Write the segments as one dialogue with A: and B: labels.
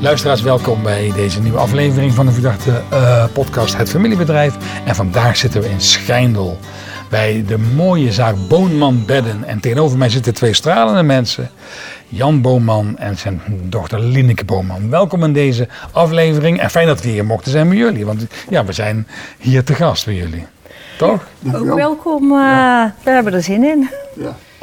A: Luisteraars, welkom bij deze nieuwe aflevering van de verdachte eh, podcast Het Familiebedrijf. En vandaag zitten we in Schijndel bij de mooie zaak Boonman Bedden. En tegenover mij zitten twee stralende mensen, Jan Boonman en zijn dochter Lineke Boonman. Welkom in deze aflevering en fijn dat we hier mochten zijn bij jullie, want ja, we zijn hier te gast bij jullie. Toch?
B: Ook welkom, eh, we hebben er zin in.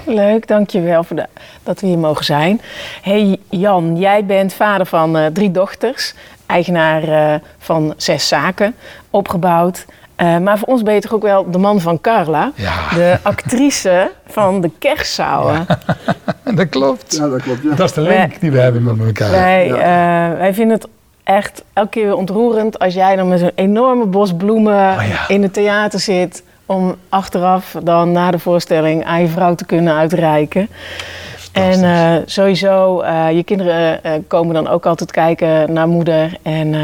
C: Leuk, dankjewel voor de, dat we hier mogen zijn. Hey Jan, jij bent vader van eh, drie dochters, eigenaar eh, van zes zaken, opgebouwd. Eh, maar voor ons ben je toch ook wel de man van Carla,
A: Ja.
C: de actrice van de kerstzaal.
A: Dat klopt.
D: Ja, dat klopt. Ja.
A: Dat is de link die we hebben met elkaar.
C: Wij, eh, wij vinden het echt elke keer weer ontroerend als jij dan met zo'n enorme bos bloemen
A: Oh ja.
C: in het theater zit. Om achteraf dan na de voorstelling aan je vrouw te kunnen uitreiken. En eh, sowieso, eh, je kinderen eh, komen dan ook altijd kijken naar moeder. En eh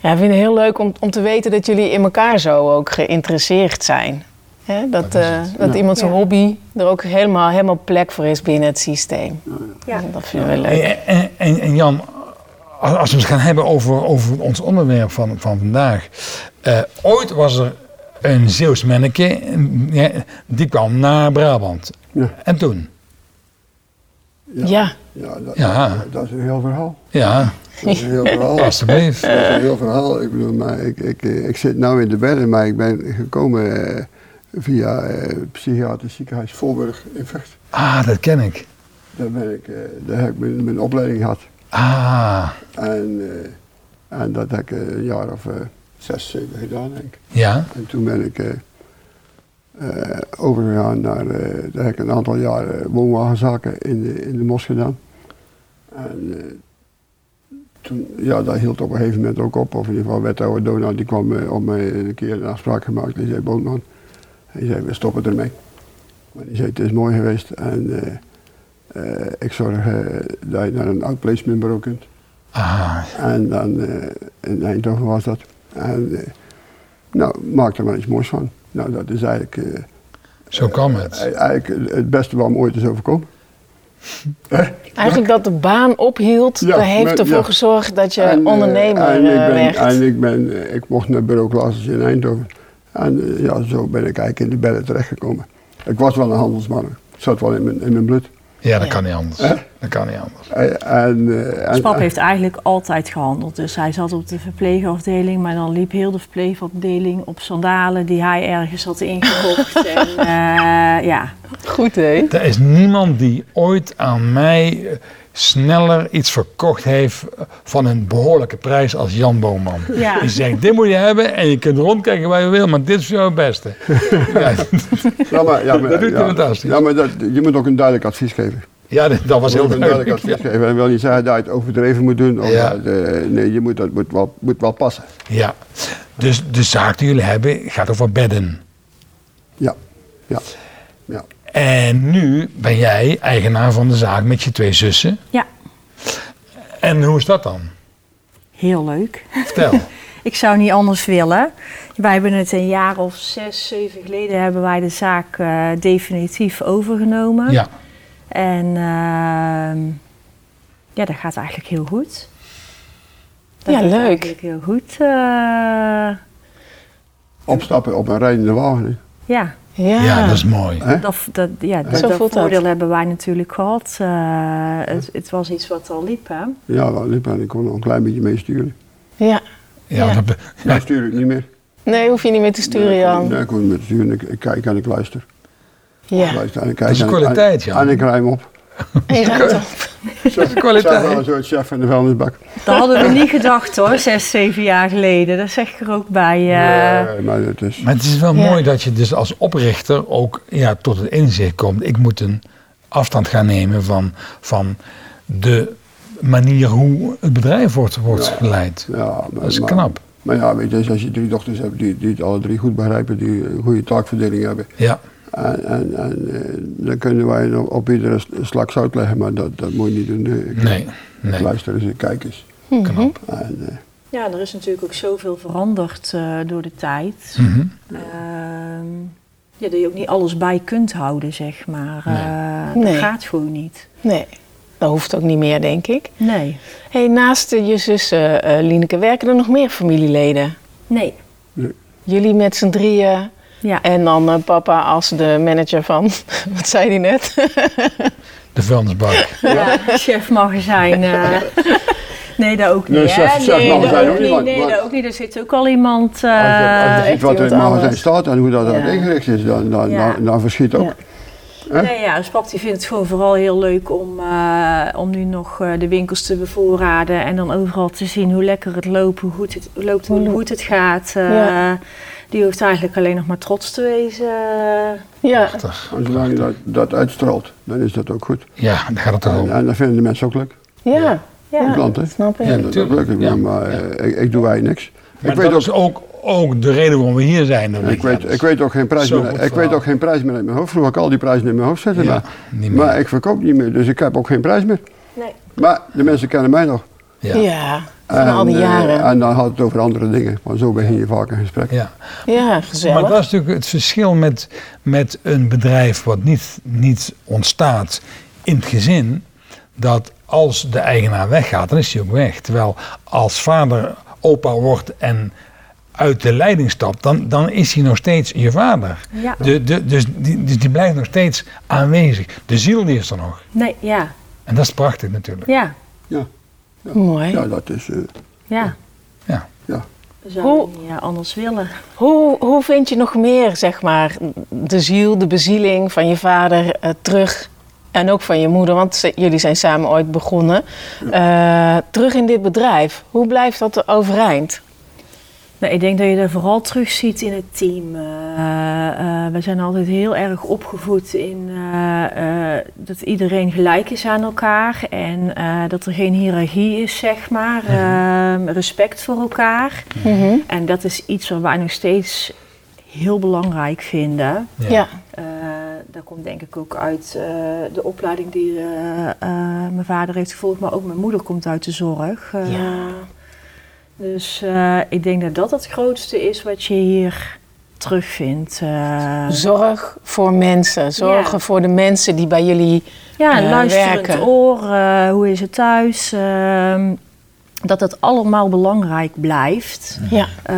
C: ja, we vinden het heel leuk om, om te weten dat jullie in elkaar zo ook geïnteresseerd zijn. Hè? Dat,
A: Dat is
C: eh,
A: het.
C: dat
D: Ja.
C: iemand zijn
B: Ja.
C: hobby er ook helemaal, helemaal plek voor is binnen het systeem. Dus Dat vinden we leuk.
A: En, en- en, en Jan, als als we het gaan hebben over, over ons onderwerp van, van vandaag. Eh, ooit was er een Zeeuws manneke, mm, ja, die kwam naar Brabant.
D: Ja.
A: En toen?
C: Ja.
D: Ja, dat,
A: Ja.
D: dat- dat is een heel verhaal.
A: Ja,
D: Dat is een heel verhaal. dat
A: alstublieft.
D: is een heel verhaal. Ik bedoel, maar ik, ik, ik zit nu in de bedden, maar ik ben gekomen eh, via eh, het psychiatrisch ziekenhuis Voorburg in Vecht.
A: Ah, dat ken ik.
D: Daar, ben ik, eh, daar heb ik mijn, mijn opleiding gehad.
A: Ah,
D: En, eh, en dat heb ik eh, een jaar of eh, zes, zeven gedaan, denk ik.
A: ja.
D: En toen ben ik eh, eh, overgegaan naar, eh, daar heb ik een aantal jaar eh, woonwagenzaken in de, in de mos gedaan. En eh, toen, ja, dat hield op een gegeven moment ook op. Of in ieder geval wethouder Dona, die kwam eh, op mij een keer een afspraak gemaakt. Die zei, Bootman, hij zei, we stoppen ermee. Maar die zei, het is mooi geweest en eh, eh, ik zorg eh, dat je naar een outplacementbureau kunt.
A: Ah,
D: En dan eh, in Eindhoven was dat. En eh, nou, maak er maar iets moois van. Nou, dat is eigenlijk, eh, e-,
A: zo kwam het.
D: eigenlijk het beste wat me ooit is overkomen.
C: Eigenlijk dat de baan ophield,
D: Ja,
C: dat heeft
D: maar-
C: ervoor
D: ja.
C: gezoorgd dat je
D: En, eh,
C: ondernemer
D: en ik
C: eh,
D: ben,
C: werd.
D: En ik, ben, eh, ik mocht naar bureau Klaasjes in Eindhoven. En eh, ja, zo ben ik eigenlijk in de bedden terechtgekomen. Ik was wel een handelsman. Het zat wel in mijn, in mijn bloed.
A: Ja, dat
C: Ja.
A: kan niet anders. Dat kan niet anders.
D: Eh, En, eh, en,
B: Dus pap heeft eigenlijk altijd gehandeld. Dus hij zat op de verpleegafdeling, maar dan liep heel de verpleegafdeling op sandalen die hij ergens had ingekocht. en, eh, ja.
C: Goed hè?
A: Er is niemand die ooit aan mij eh, sneller iets verkocht heeft eh, van een behoorlijke prijs als Jan Boman.
B: Ja.
A: Die zegt, dit moet je hebben en je kunt rondkijken waar je wil, maar dit is jouw beste. Ja,
D: ja, maar, ja, maar,
A: Dat doet hij
D: ja.
A: fantastisch.
D: Ja, maar dat, je moet ook een duidelijk advies geven.
A: ja, dat- dat was
D: Je
A: heel
D: moet een duidelijk
A: duidelijk.
D: advies geven. Dat wil niet zeggen dat je het overdreven moet doen. Of
A: Ja.
D: dat, eh, nee, je moet, dat moet, wel, moet wel passen.
A: Ja, dus de zaak die jullie hebben gaat over bedden.
D: Ja. ja. ja.
A: En nu ben jij eigenaar van de zaak met je twee zussen.
B: ja,
A: En hoe is dat dan?
B: heel leuk.
A: Vertel.
B: Ik zou niet anders willen. Wij hebben het een jaar of zes, zeven geleden hebben wij de zaak eh, definitief overgenomen.
A: Ja,
B: En ehm, ja, dat gaat eigenlijk heel goed.
C: Ja,
B: gaat
C: leuk.
B: Eigenlijk heel goed. eh,
D: Opstappen op een rijdende wagen.
B: ja,
C: Ja.
A: ja dat is mooi.
D: Hè?
B: dat, dat, ja, dat,
C: Zo
B: dat
C: voelt dat.
B: voordeel hebben wij natuurlijk gehad. Eh, het, het was iets wat al liep, hè?
D: Ja, wel, ik ben- ik kon nog een klein beetje mee sturen.
C: Ja.
A: Ja,
C: Ja.
A: dat be-
D: Nou, stuur ik niet meer.
C: Nee, hoef je niet meer te sturen,
D: Nee, ik kon-
C: Jan.
D: Nee, ik kon niet meer sturen. Ik, ik kijk en ik luister. Ik
C: Ja.
D: luister en ik
A: Dat
D: kijk
A: is
D: en ik-
A: kwaliteit,
D: en-
A: Jan.
D: En ik rij hem op.
C: En je ruikt op.
D: Dat is
A: kwaliteit.
D: wel een soort chef van de vuilnisbak.
B: Dat hadden we niet gedacht hoor, zes, zeven jaar geleden. Dat zeg ik er ook bij. eh.
D: Nee, maar het is...
A: Maar het is wel
C: Ja.
A: mooi dat je dus als oprichter ook ja, tot het inzicht komt. Ik moet een afstand gaan nemen van, van de manier hoe het bedrijf wordt, wordt geleid.
D: Ja, maar,
A: Dat is
D: maar-
A: knap.
D: Maar ja, weet je, als je drie dochters hebt die, die het alle drie goed begrijpen, die een goede taakverdeling hebben,
A: Ja,
D: En, en, en eh, dan kunnen wij nog op iedere s- slak zout leggen, maar dat, dat moet je niet doen. Nee, ik,
A: nee,
D: ik
A: nee,
D: luister eens en kijk eens.
A: knap.
D: En, eh,
B: Ja, er is natuurlijk ook zoveel veranderd eh, door de tijd.
A: Mhm.
B: Ehm, ja, dat je ook niet alles bij kunt houden, zeg maar.
A: Nee.
B: Eh,
C: Nee.
B: Dat gaat gewoon niet.
C: Nee. Dat hoeft ook niet meer, denk ik.
B: Nee.
C: Hey, naast eh, je zus eh, eh, Lieneke werken er nog meer familieleden.
B: Nee.
C: Jullie met z'n drieën
B: Ja.
C: en dan eh, papa als de manager van, wat zei hij net?
A: De vuilnisbak.
B: Ja, chef magazijn. eh. nee, daar ook niet.
D: Nee,
B: hè?
D: chef- chef
B: nee, daar
D: magazijn ook
B: ook
D: niet,
B: niet.
D: want-
B: Nee,
D: want-
B: daar ook niet. Er zit ook al iemand. eh,
D: Als je
C: echt
D: ziet wat er in het
C: iemand
D: magazijn
C: anders.
D: staat en hoe dat daar
B: Ja.
D: ingericht is, dan, dan,
B: Ja.
D: dan, dan verschiet ook. hè?
B: Nee, ja, dus pap die vindt het gewoon vooral heel leuk om, eh, om nu nog eh, de winkels te bevoorraden en dan overal te zien hoe lekker het loopt, hoe goed het loopt, hoe goed het gaat. eh.
C: Ja.
B: Die hoeft eigenlijk alleen nog maar trots te wezen.
C: ja,
D: En zolang je dat, dat uitstraalt, dan is dat ook goed.
A: Ja, daar gaat het toch
D: En,
A: om.
D: en dat vinden de mensen ook leuk.
C: ja,
D: De
C: ja,
D: klanten.
C: snap ik.
A: Ja,
D: Ja, dat is
A: tuurlijk.
D: leuk.
A: Ja.
D: Ja, maar eh, ik, ik doe eigenlijk niks.
A: Maar
D: ik weet
A: dat
D: ook,
A: is ook, ook de reden waarom we hier zijn. dat
D: ik, weet, ik weet ook geen prijs
A: Zo'n
D: meer.
A: goed
D: Ik weet
A: verhaal.
D: ook geen prijs meer uit mijn hoofd. Vroeger had ik al die prijzen in mijn hoofd zitten.
A: Ja,
D: maar,
A: niet meer.
D: maar ik verkoop niet meer, dus ik heb ook geen prijs meer.
B: Nee.
D: Maar de mensen kennen mij nog.
A: Ja.
C: Ja,
A: Ja.
C: van al die
D: eh,
C: jaren.
D: en dan had het over andere dingen. Want zo begin je vaak een gesprek.
C: ja,
A: Maar
C: gezellig.
A: dat is natuurlijk het verschil met, met een bedrijf wat niet, niet ontstaat in het gezin. Dat als de eigenaar weggaat, dan is hij ook weg. Terwijl als vader opa wordt en uit de leiding stapt, dan, dan is hij nog steeds je vader.
B: Ja.
A: De, de, dus, die, dus die blijft nog steeds aanwezig. De ziel die is er nog.
B: Nee, ja.
A: En dat is prachtig natuurlijk.
B: Ja.
D: Ja,
C: Mooi.
D: ja dat is... eh,
B: Ja.
A: Ja.
D: ja.
B: Zou
C: Hoe-
B: niet eh, anders willen.
C: Hoe, hoe vind je nog meer, zeg maar, de ziel, de bezieling van je vader eh, terug en ook van je moeder, want ze- jullie zijn samen ooit begonnen, eh, terug in dit bedrijf? Hoe blijft dat overeind?
B: Nou, ik denk dat je dat vooral terug ziet in het team. Eh, eh, we zijn altijd heel erg opgevoed in eh, eh, dat iedereen gelijk is aan elkaar en eh, dat er geen hiërarchie is, zeg maar. Ehm, respect voor elkaar. En dat is iets wat wij nog steeds heel belangrijk vinden.
A: Ja.
C: Ja.
B: Eh, dat komt denk ik ook uit eh, de opleiding die eh, eh, mijn vader heeft gevolgd, maar ook mijn moeder komt uit de zorg. Eh,
C: Ja.
B: Dus eh, ik denk dat dat het grootste is wat je hier terugvindt. eh.
C: Dus, Zorg voor mensen, zorgen
B: Ja.
C: voor de mensen die bij jullie
B: ja, een
C: eh,
B: luisterend
C: werken.
B: oor, eh, hoe is het thuis? ehm, dat dat allemaal belangrijk blijft.
C: Ja.
B: Eh,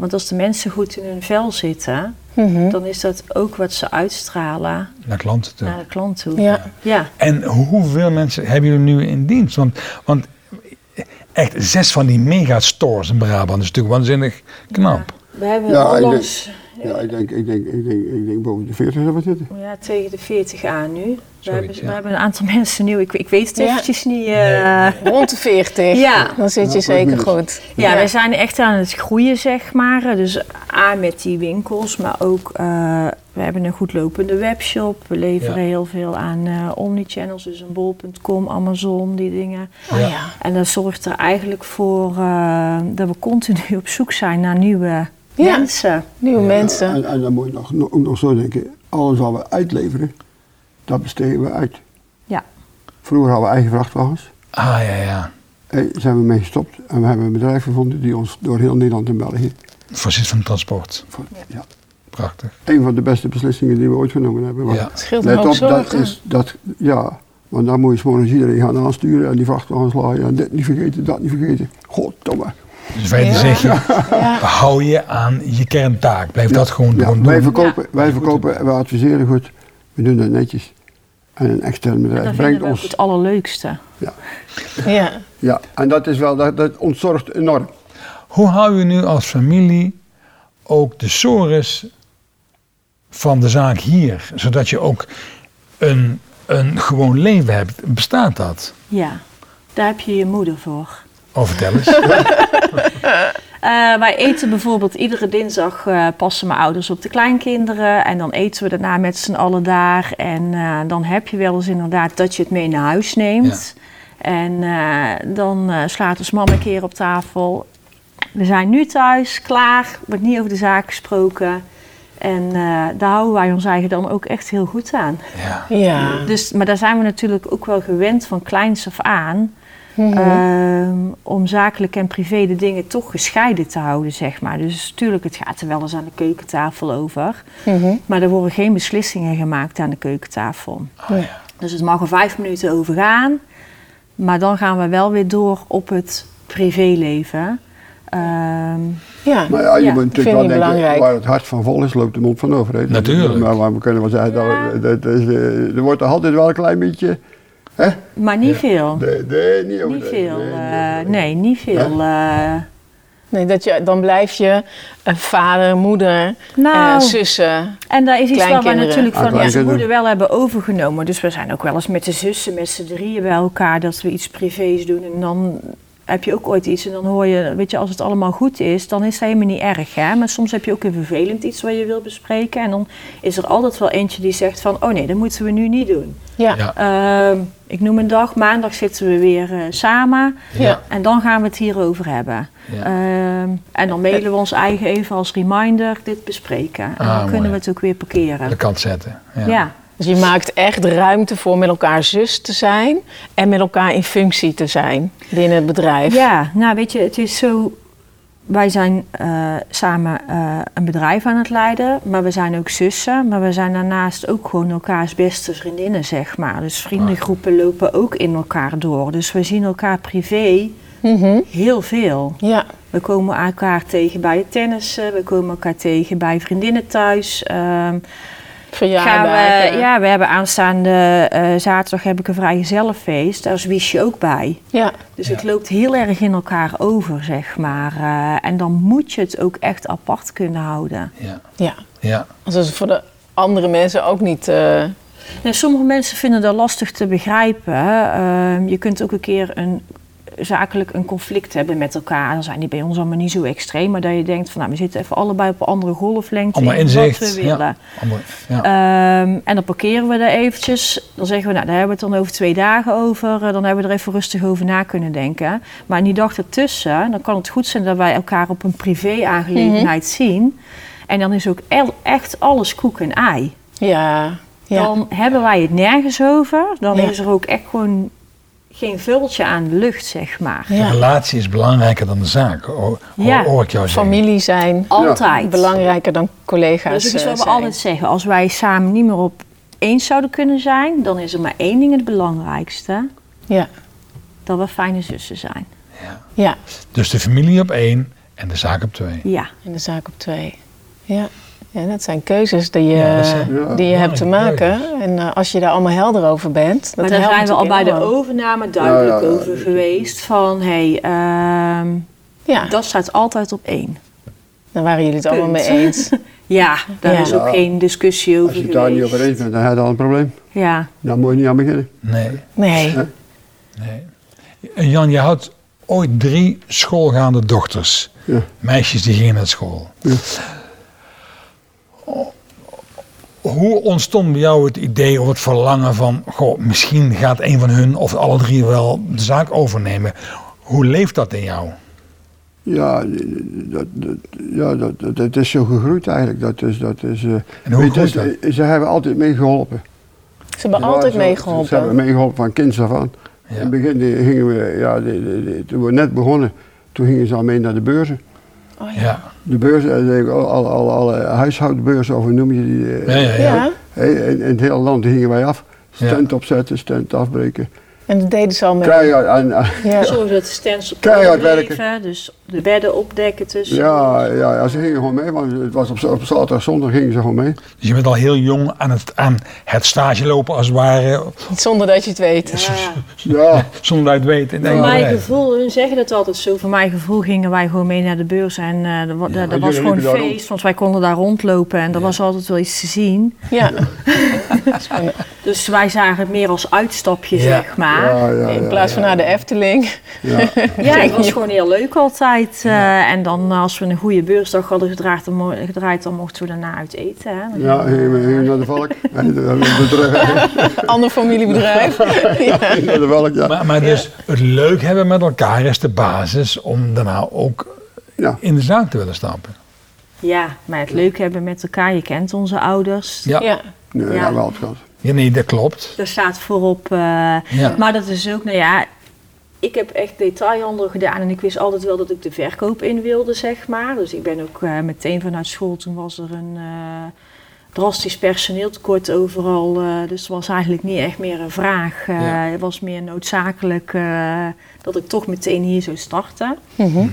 B: want als de mensen goed in hun vel zitten,
C: Mhm.
B: dan is dat ook wat ze uitstralen
A: Naar klanten toe.
B: naar de klant toe.
C: ja.
B: ja.
A: En hoeveel mensen hebben jullie nu in dienst? Want, want echt zes van die megastores in Brabant is natuurlijk waanzinnig knap.
B: We hebben
D: Ja, ik
B: onlangs
D: Ja, ik denk, ik, denk, ik, denk, ik denk boven de 40 dat we zitten.
B: ja, tegen de 40 aan nu. We,
A: Zoiets,
B: hebben,
A: ja.
B: we hebben een aantal mensen nieuw. Ik, ik weet het
C: Ja.
B: eventjes niet. eh.
C: Rond de 40.
B: Ja.
C: Dan zit je
D: Ja,
C: zeker
D: plus
C: goed.
B: Ja, wij zijn echt aan het groeien, zeg maar. Dus A, met die winkels, maar ook... eh, we hebben een goed lopende webshop. We leveren
A: Ja.
B: heel veel aan eh omnichannels, dus een bol.com, Amazon, die dingen.
C: Oh ja.
B: En dat zorgt er eigenlijk voor eh, dat we continu op zoek zijn naar nieuwe
C: Ja.
B: mensen.
C: Nieuwe mensen.
D: En, en dan moet je nog, nog- ook nog zo denken, alles wat we uitleveren, dat besteden we uit.
B: Ja.
D: Vroeger hadden we eigen vrachtwagens.
A: Ah ja, ja.
D: Daar zijn we mee gestopt en we hebben een bedrijf gevonden die ons door heel Nederland en België...
A: Voorzit van transport.
D: voor- ja.
A: Prachtig.
D: Een van de beste beslissingen die we ooit genomen hebben. Want
A: Ja.
C: Het scheelt een
D: Let
C: hoop
D: op, dat
C: zorgen.
D: is, dat, ja, want dan moet je 's morgens iedereen gaan aansturen en die vrachtwagens laaien. En dit niet vergeten, dat niet vergeten. Goddomme.
A: Dus wij
C: Ja.
A: zeg je,
C: Ja.
A: hou je aan je kerntaak. Blijf dat gewoon,
D: Ja,
A: gewoon
D: wij
A: doen.
D: verkopen, wij
A: Goed
D: verkopen, we adviseren goed, we doen dat netjes. En een extern bedrijf
B: Dat vinden
D: brengt
B: we ook
D: ons.
B: het allerleukste.
D: Ja,
C: Ja.
D: ja, en dat is wel, dat, dat ontzorgt enorm.
A: Hoe hou je nu als familie ook de sores van de zaak hier? Zodat je ook een, een gewoon leven hebt. Bestaat dat?
B: Ja, daar heb je je moeder voor.
A: Oh, vertel eens.
B: Eh, wij eten bijvoorbeeld iedere dinsdag eh, passen mijn ouders op de kleinkinderen. En dan eten we daarna met z'n allen daar. En eh, dan heb je wel eens inderdaad dat je het mee naar huis neemt. En eh, dan eh, slaat ons mama een keer op tafel. We zijn nu thuis, klaar, wordt niet over de zaak gesproken. En eh, daar houden wij ons eigen dan ook echt heel goed aan.
A: ja.
C: Ja.
B: Dus, maar daar zijn we natuurlijk ook wel gewend van kleins af aan. ehm, om zakelijk en privé de dingen toch gescheiden te houden, zeg maar. Dus tuurlijk, het gaat er wel eens aan de keukentafel over.
C: Mhm.
B: Maar er worden geen beslissingen gemaakt aan de keukentafel.
A: Ah, ja.
B: Dus het mag er vijf minuten over gaan. Maar dan gaan we wel weer door op het privéleven. Ehm,
C: Ja.
D: Maar ja, je
B: Ja,
D: moet
C: vind
D: natuurlijk wel
C: ik
D: denken,
C: belangrijk.
D: waar het hart van vol is, loopt de mond van over. hè.
A: Natuurlijk.
D: Maar, maar we kunnen wel zeggen, dat, dat is, eh, er wordt er altijd wel een klein beetje... Hè?
B: maar niet veel.
D: Nee, nee, niet over
B: Niet veel.
D: Nee, niet
B: eh,
D: overdreven.
B: nee, niet veel. eh,
C: Nee, dat je, dan blijf je eh, vader, moeder,
B: Nou.
C: eh, zussen.
B: En daar is iets wat we
C: Kleinkinderen.
B: natuurlijk
D: Ah,
B: van onze
D: kleinkinderen.
B: moeder wel hebben overgenomen. Dus we zijn ook wel eens met de zussen, met z'n drieën bij elkaar, dat we iets privés doen. En dan heb je ook ooit iets en dan hoor je, weet je, als het allemaal goed is, dan is dat helemaal niet erg. Hè? Maar soms heb je ook een vervelend iets wat je wil bespreken. En dan is er altijd wel eentje die zegt van, oh nee, dat moeten we nu niet doen.
C: Ja.
A: Ja.
C: Ja.
B: Ehm, ik noem een dag, maandag zitten we weer eh, samen.
A: Ja.
B: En dan gaan we het hierover hebben.
A: Ja.
B: Ehm, en dan mailen we ons eigen even als reminder dit bespreken. En dan
A: Ah,
B: kunnen
A: mooi.
B: we het ook weer parkeren.
A: aan de kant zetten. Ja.
B: Ja.
C: Dus je maakt echt ruimte voor met elkaar zus te zijn en met elkaar in functie te zijn binnen het bedrijf.
B: ja, nou weet je, het is zo. Wij zijn eh, samen eh, een bedrijf aan het leiden, maar we zijn ook zussen. Maar we zijn daarnaast ook gewoon elkaars beste vriendinnen, zeg maar. Dus
A: Ah.
B: vriendengroepen lopen ook in elkaar door. Dus we zien elkaar privé
C: Mhm.
B: heel veel.
C: ja.
B: We komen elkaar tegen bij het tennissen, we komen elkaar tegen bij vriendinnen thuis. ehm, Gaan
C: verjaardagen.
B: we, ja, we hebben aanstaande eh, zaterdag heb ik een vrijgezellenfeest. Daar is Wiesje ook bij.
C: ja.
B: Dus
A: Ja.
B: het loopt heel erg in elkaar over, zeg maar. Eh, en dan moet je het ook echt apart kunnen houden.
A: Ja.
C: Ja.
A: Ja.
C: Dus dat is voor de andere mensen ook niet... eh,
B: Nou, sommige mensen vinden dat lastig te begrijpen. Eh, je kunt ook een keer een, zakelijk een conflict hebben met elkaar. Dan zijn die bij ons allemaal niet zo extreem. Maar dat je denkt, van, nou, we zitten even allebei op een andere golflengte
A: Allemaal
B: in
A: inzicht.
B: wat we
A: ja.
B: willen.
A: Allemaal- ja.
B: Ehm, en dan parkeren we er eventjes. Dan zeggen we, nou, daar hebben we het dan over twee dagen over. Eh, Dan hebben we er even rustig over na kunnen denken. Maar in die dag ertussen, dan kan het goed zijn dat wij elkaar op een privé-aangelegenheid
C: Mhm.
B: zien. En dan is ook el- echt alles koek en ei.
C: ja. Ja.
B: Dan hebben wij het nergens over. Dan
C: Ja.
B: is er ook echt gewoon geen vultje aan de lucht, zeg maar.
A: De
C: ja.
A: relatie is belangrijker dan de zaak, hoor,
B: Ja.
A: hoor ik jou zeggen.
C: Familie zijn
B: Altijd.
C: belangrijker dan collega's
B: Dus ik
C: eh,
B: zou
C: zijn.
B: altijd zeggen, als wij samen niet meer op eens zouden kunnen zijn, dan is er maar één ding het belangrijkste.
C: Ja.
B: dat we fijne zussen zijn.
C: ja.
A: Dus de familie op één en de zaak op twee.
B: Ja,
C: En de zaak op twee. Ja. ja dat zijn keuzes die je,
A: Ja, dat zijn-
D: ja,
C: die je hebt te
A: belangrijke
C: maken. En eh, als je daar allemaal helder over bent... Dat
B: maar daar
C: helpt
B: zijn we al bij
C: natuurlijk
B: de
C: enorm.
B: overname duidelijk
D: Ja, ja, ja.
B: over geweest. Van hé, hey, ehm,
C: Ja,
B: dat staat altijd op één.
C: daar waren jullie het allemaal mee
B: Punt.
C: eens.
B: Ja, daar
C: Ja.
B: is ook
D: Ja.
B: geen discussie over
D: Als je het
B: geweest.
D: daar niet over eens bent, dan heb je al een probleem.
B: Ja,
D: Dan moet je niet aan beginnen.
A: Nee.
C: Nee.
D: Ja.
A: nee. En Eh, Jan, je had ooit drie schoolgaande dochters.
D: Ja.
A: Meisjes die gingen naar school. Oh, Hoe ontstond bij jou het idee of het verlangen van... Goh, misschien gaat een van hun of alle drie wel de zaak overnemen. Hoe leeft dat in jou?
D: Ja, dat, dat, ja dat, dat, dat is zo gegroeid eigenlijk. Dat is, dat is, eh,
A: En hoe
D: weet je,
A: groeit
D: ze- Ze hebben altijd meegeholpen.
C: Ze hebben
D: Ze
C: altijd
D: waren zo- Ze hebben
C: meegeholpen.
D: meegeholpen van kinds af aan.
A: Ja.
D: In het begin die gingen we, ja, die- die- die- toen we net begonnen, toen gingen ze al mee naar de beurzen.
C: Oh, ja.
A: Ja.
D: De beurzen, eh, de- alle, alle, alle eh, huishoudbeurzen, of hoe noem je die? eh,
A: Ja, ja, ja.
C: Ja.
D: hè, in, in het hele land gingen wij af.
A: Ja.
D: Stand opzetten, stand afbreken.
C: En dat deden ze al mee.
D: Keihard aan- aan-
C: Ja.
B: zorgen dat de stands op
D: Keihard
B: orde
D: werken.
B: bleven, Dus de bedden opdekken tussen.
D: Ja, ja, ja, ze gingen gewoon mee, want het was op, op zaterdag, zondag gingen ze gewoon mee.
A: Dus je bent al heel jong aan het, aan het stage lopen als het ware.
C: Zonder dat je het weet.
B: Ja.
D: Ja,
A: Zonder dat je het weet. In
B: Voor
A: één
B: mijn
A: bedrijf.
B: gevoel, hun zeggen dat altijd zo. Voor mijn gevoel gingen wij gewoon mee naar de beurs en eh, er wa- dat
D: jullie
B: was gewoon
D: liepen daar
B: feest, want wij konden daar rondlopen en er was altijd wel iets te zien.
C: Ja.
B: Dus wij zagen het meer als uitstapje,
A: Ja.
B: zeg maar.
D: ja, ja,
C: Ah, In
D: ja,
C: plaats van naar de Efteling.
D: ja.
B: Ja, het was gewoon heel leuk altijd. Eh, en dan eh, als we een goede beursdag hadden gedraaid, dan, mo- gedraaid, dan mochten we daarna uit eten. Hè. Dan-
D: Ja, gingen we gingen we naar de valk. Nee, naar de- terug-
C: Ander familiebedrijf. ja.
D: naar de valk, ja.
A: Maar, maar dus het leuk hebben met elkaar is de basis om daarna ook
D: ja.
A: in de zaak te willen stappen.
B: Ja, maar het leuk hebben met elkaar, je kent onze ouders.
A: Ja, ja.
C: ja.
D: Nee,
B: Ja.
D: ja. wel het gehad.
A: nee, dat klopt.
B: Daar staat voorop. eh,
A: Ja.
B: Maar dat is ook, nou ja, ik heb echt detailhandel gedaan en ik wist altijd wel dat ik de verkoop in wilde, zeg maar. Dus ik ben ook eh, meteen vanuit school, toen was er een eh, drastisch personeeltekort overal. eh, dus het was eigenlijk niet echt meer een vraag. Eh,
A: Ja.
B: Het was meer noodzakelijk eh, dat ik toch meteen hier zou starten.
C: Mhm.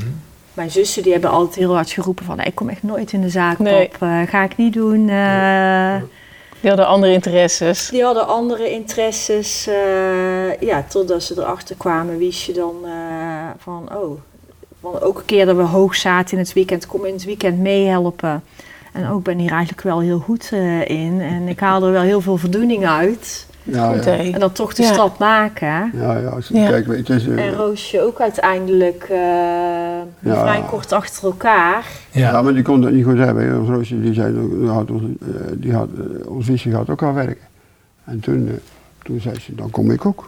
B: Mijn zussen die hebben altijd heel hard geroepen van... "Nee, ik kom echt nooit in de zaak
C: Nee.
B: op, eh, ga ik niet doen. eh."
C: Die hadden andere interesses.
B: Die hadden andere interesses. eh, ja, totdat ze erachter kwamen, wist je dan eh, van, oh, want ook een keer dat we hoog zaten in het weekend, kom in het weekend meehelpen. En ook ben hier eigenlijk wel heel goed eh, in. En ik haal er wel heel veel voldoening uit.
D: Ja,
C: Goed,
D: ja.
C: hé.
B: En dan toch de
C: Ja.
B: stap maken.
D: Ja, ja. als-
C: Ja.
D: Kijk, het is, eh,
B: En Roosje ook uiteindelijk eh, vrij kort achter elkaar.
D: ja,
A: Ja,
D: maar die kon dat niet goed hebben. hè. Ons Roosje die zei, ook, die had ons, eh, die had, eh, ons zusje gaat ook aan werken. En toen, eh, toen zei ze, dan kom ik ook.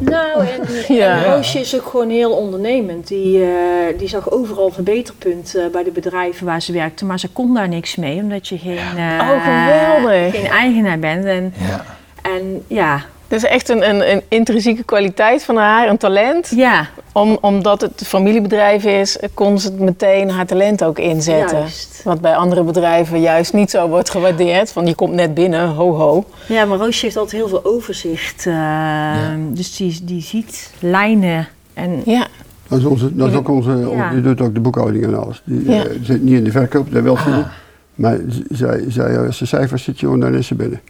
B: Nou, en,
C: Ja.
B: en Roosje is ook gewoon heel ondernemend. Die, eh, die zag overal verbeterpunten bij de bedrijven waar ze werkte, maar ze kon daar niks mee, omdat je geen, eh,
C: Oh, geweldig.
B: geen eigenaar bent. En,
A: ja.
B: en ja,
C: Dus echt een, een, een intrinsieke kwaliteit van haar, een talent.
B: ja
C: Om, omdat het familiebedrijf is, kon ze het meteen haar talent ook inzetten.
B: juist.
C: Wat bij andere bedrijven juist niet zo wordt gewaardeerd. Van je komt net binnen, ho ho.
B: Ja, maar Roosje heeft altijd heel veel overzicht. eh, Dus die, die ziet lijnen. En
C: Ja,
D: Dat is, onze, dat is ook onze,
B: Ja.
D: die doet ook de boekhouding en alles. Die
C: Ja.
D: eh, zit niet in de verkoop, dat wil
B: Ah.
D: ze niet. Maar z- zij, zij, als de cijfers zit, joh, dan is ze binnen.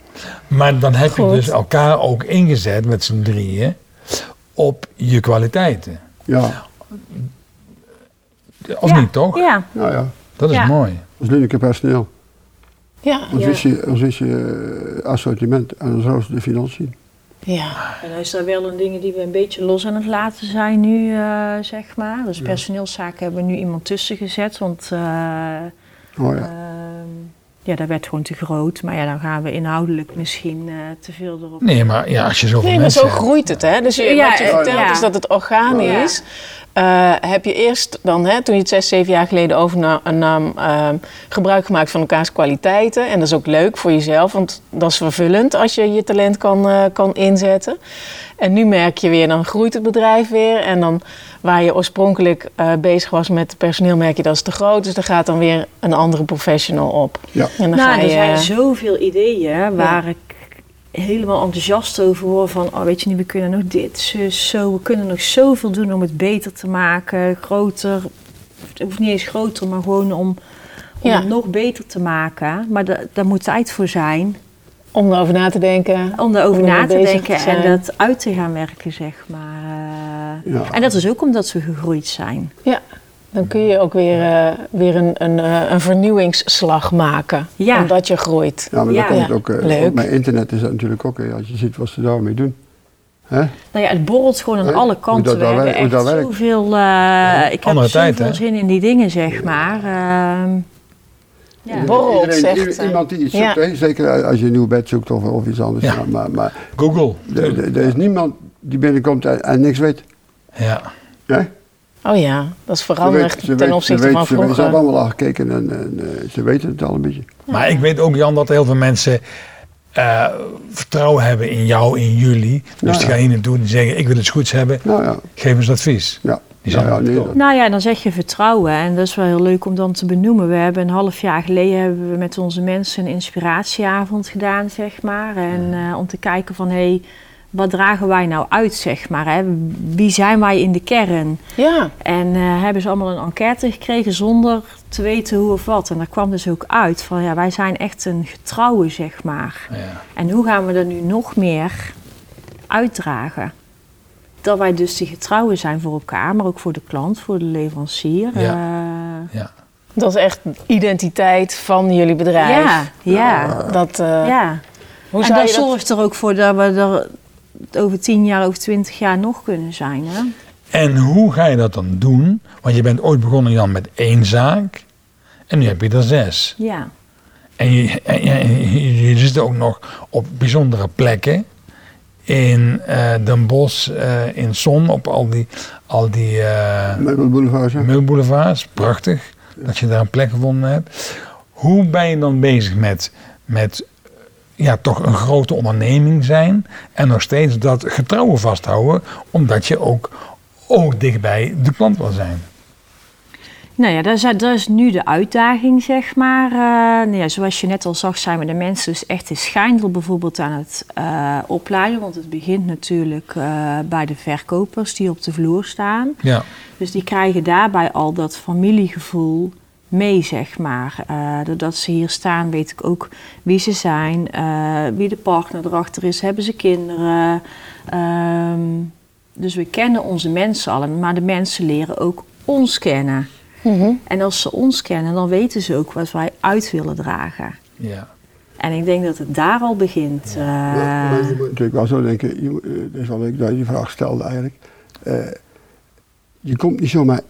A: Maar dan heb je
C: Goed.
A: dus elkaar ook ingezet met z'n drieën op je kwaliteiten.
D: Ja,
A: Of
B: Ja,
A: niet, toch?
B: Ja,
D: nou ja.
A: Dat is
B: Ja.
A: mooi.
D: Ons lelijke personeel.
C: ja,
D: Ons
B: Ja.
D: is je, ons is je eh, assortiment en ons roos de financiën.
C: ja.
B: en dan is daar wel een dingen die we een beetje los aan het laten zijn nu, eh, zeg maar. Dus personeelszaken hebben we nu iemand tussen gezet, want... eh,
D: Oh ja.
B: Ehm, ja, dat werd gewoon te groot. Maar ja, dan gaan we inhoudelijk misschien eh, te veel erop.
A: Nee, maar ja, als je zoveel
C: Nee, maar
A: mensen
C: zo groeit het, hè? Dus je,
B: Ja,
C: wat je
B: ja,
C: vertelt
B: ja.
C: is dat het organisch. eh, heb je eerst dan, hè, toen je het zes, zeven jaar geleden overnam, ehm, gebruik gemaakt van elkaars kwaliteiten. En dat is ook leuk voor jezelf, want dat is vervullend als je je talent kan, eh, kan inzetten. En nu merk je weer, dan groeit het bedrijf weer. En dan waar je oorspronkelijk eh, bezig was met personeel, merk je dat is te groot. Dus er gaat dan weer een andere professional op.
D: Ja.
C: En dan ga
B: nou,
C: je,
B: er zijn zoveel ideeën waar ik helemaal enthousiast over word. Van, oh, weet je niet, we kunnen nog dit, zus, zo. We kunnen nog zoveel doen om het beter te maken. Groter. Het hoeft niet eens groter, maar gewoon om, om
C: Ja.
B: het nog beter te maken. Maar da- daar moet tijd voor zijn.
C: om erover na te denken.
B: Om daarover
C: Om ermee
B: na te
C: bezig
B: denken
C: te
B: en
C: zijn.
B: dat uit te gaan werken, zeg maar. eh.
D: Ja.
B: En dat is ook omdat we gegroeid zijn.
C: Ja, dan kun je ook weer, eh, weer een, een, eh, een vernieuwingsslag maken.
B: Ja.
C: Omdat je groeit.
D: Ja, maar
B: Ja.
D: dan komt het
C: Ja,
D: ook, eh,
C: leuk.
D: ook bij internet is dat natuurlijk ook, eh, als je ziet wat ze daarmee doen. Hè?
B: Nou ja, het borrelt gewoon aan
D: Hè?
B: alle
D: Hoe
B: kanten.
D: dat
B: We
D: daar
B: hebben
D: werkt, hoe
B: echt
D: dat werkt.
B: zoveel... eh, ik heb
A: andere
B: zoveel
A: tijd, hè?
B: zin in die dingen, zeg maar. Ehm, ja.
C: Borrelt,
D: Iedereen-
C: zegt
D: ieder-
C: zij.
D: Iemand die iets
C: Ja.
D: zoekt, hè? zeker eh, als je een nieuw bed zoekt of, of iets anders.
A: Ja.
D: Maar- Maar, maar
A: Google.
D: er- er er is niemand die binnenkomt en, en niks weet.
A: Ja.
D: Hè?
C: Oh ja, dat is
D: Ze
C: veranderd
D: weet- ze
C: ten
D: weet-
C: opzichte
D: ze weet-
C: van
D: Ze weet- ze
C: vroeger.
D: hebben allemaal al gekeken en, en, eh, ze weten het al een beetje.
A: Maar ik weet ook, Jan, dat heel veel mensen eh, vertrouwen hebben in jou, in jullie. Dus
D: Ja,
A: die
D: ja.
A: gaan hier naartoe en die zeggen, ik wil iets goeds hebben.
D: Nou ja,
A: Geef ons advies.
D: ja.
A: Die
D: ja,
A: zijn
D: ja,
A: wel
D: nee,
A: top.
D: dat-
B: Nou ja, dan zeg je vertrouwen. En dat is wel heel leuk om dan te benoemen. We hebben een half jaar geleden hebben we met onze mensen een inspiratieavond gedaan, zeg maar. En eh, om te kijken van, hé, hey, wat dragen wij nou uit, zeg maar. Hè? Wie zijn wij in de kern?
C: Ja,
B: En eh, hebben ze allemaal een enquête gekregen zonder te weten hoe of wat. En daar kwam dus ook uit van ja, wij zijn echt een getrouwe, zeg maar.
A: Ja.
B: En hoe gaan we er nu nog meer uitdragen? Dat wij dus die getrouwen zijn voor elkaar, maar ook voor de klant, voor de leverancier.
A: Ja.
B: eh,
A: Ja.
C: dat is echt identiteit van jullie bedrijf.
B: ja, ja,
C: Dat, eh,
B: ja.
C: Hoe
B: en
C: zou
B: dat
C: je dat...
B: zorgt er ook voor dat we er over tien jaar, over twintig jaar nog kunnen zijn. Hè?
A: En hoe ga je dat dan doen? Want je bent ooit begonnen, Jan, met één zaak. En nu heb je er zes.
B: Ja.
A: En je, en je- en je- je zit ook nog op bijzondere plekken. In eh Den Bosch, eh, in Zon, op al die, al die eh
D: Meubelboulevards, hè?
A: meubelboulevards. Prachtig dat je daar een plek gevonden hebt. Hoe ben je dan bezig met, met ja, toch een grote onderneming zijn en nog steeds dat getrouwen vasthouden, omdat je ook, ook dichtbij de klant wil zijn?
B: Nou ja, dat is, dat is nu de uitdaging, zeg maar. Eh, nou ja, zoals je net al zag, zijn we de mensen dus echt in Schijndel bijvoorbeeld aan het eh, opleiden. Want het begint natuurlijk eh, bij de verkopers die op de vloer staan.
A: Ja,
B: Dus die krijgen daarbij al dat familiegevoel mee, zeg maar. Eh, doordat ze hier staan, weet ik ook wie ze zijn, eh, wie de partner erachter is, hebben ze kinderen. Ehm, dus we kennen onze mensen al, maar de mensen leren ook ons kennen.
C: Mhm.
B: En als ze ons kennen, dan weten ze ook wat wij uit willen dragen.
A: ja.
B: En ik denk dat het daar al begint. eh,
D: Maar je moet natuurlijk wel zo denken, je moet- eh, dat is wel leuk dat je die vraag stelde eigenlijk. Eh, je komt niet zomaar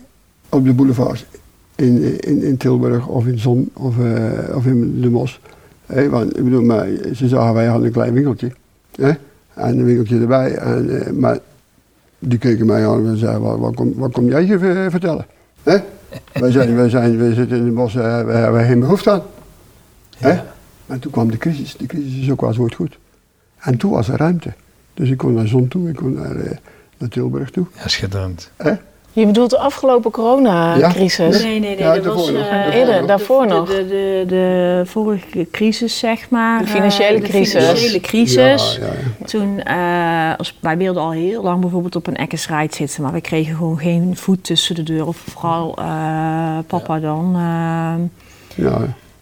D: op de boulevard in, in, in Tilburg of in Zon of, eh, of in de Mos. Hé, want ik bedoel, maar ze zagen wij hadden een klein winkeltje. hè, En een winkeltje erbij. En, eh, maar die keken mij aan en zeiden, wat, wat, kom, wat kom jij je ver- vertellen? hè? Wij, zijn, wij, zijn, wij zitten in de bos, eh, we hebben geen behoefte aan. hè? En toen kwam de crisis. De crisis is ook wel eens woord goed. En toen was er ruimte. Dus ik kon naar Zon toe, ik kon naar, eh, naar Tilburg toe.
A: Ja, schitterend.
D: hè?
C: Je bedoelt de afgelopen coronacrisis?
B: Nee, nee, nee.
D: Ja,
B: dat
D: daarvoor
B: was
D: nog.
B: eh,
D: Daarvoor
C: Eerder,
B: de-
C: daarvoor
B: de,
C: nog.
B: De, de, de vorige crisis, zeg maar.
C: De financiële
B: eh, de
C: crisis.
B: financiële crisis.
D: Ja, ja, ja.
B: Toen, eh, als, wij wilden al heel lang bijvoorbeeld op een ekkersrijd zitten, maar we kregen gewoon geen voet tussen de deur. Of vooral eh, papa dan. ehm.
D: Ja,